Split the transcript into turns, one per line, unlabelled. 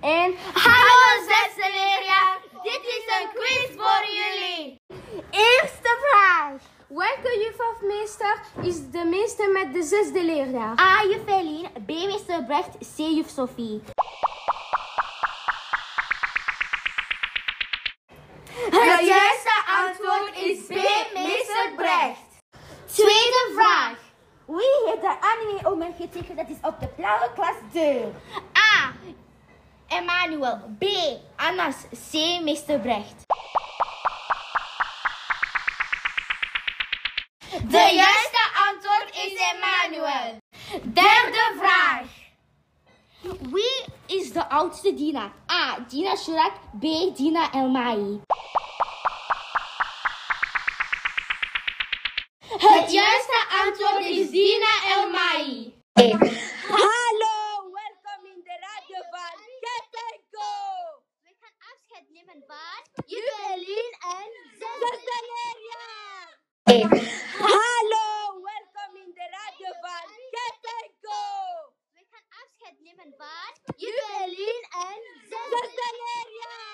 En hallo zesde leerjaar, dit is een quiz voor jullie. Eerste vraag.
Welke juf of meester is de meester met de zesde leerjaar?
A. Juf Eline, B. Meester Brecht, C. Juf Sophie. Het juiste antwoord is B. Meester Brecht. Tweede vraag.
Wie heeft de anime om hem getekend? Dat is op de blauwe klasdeur.
A. Emmanuel. B. Annas. C. Meester Brecht. De juiste antwoord is Emmanuel. Derde vraag. Wie is de oudste Dina? A. Dina Shurak. B. Dina Elmai. Het juiste antwoord is Dina Elmai.
Hallo, welkom in de radio van Get and Go.
We gaan afscheid nemen van Juvelin en
Zesde leerjaar. Hallo, welkom in de radio van Get and Go.
We gaan afscheid nemen van Juvelin en
Zesde leerjaar.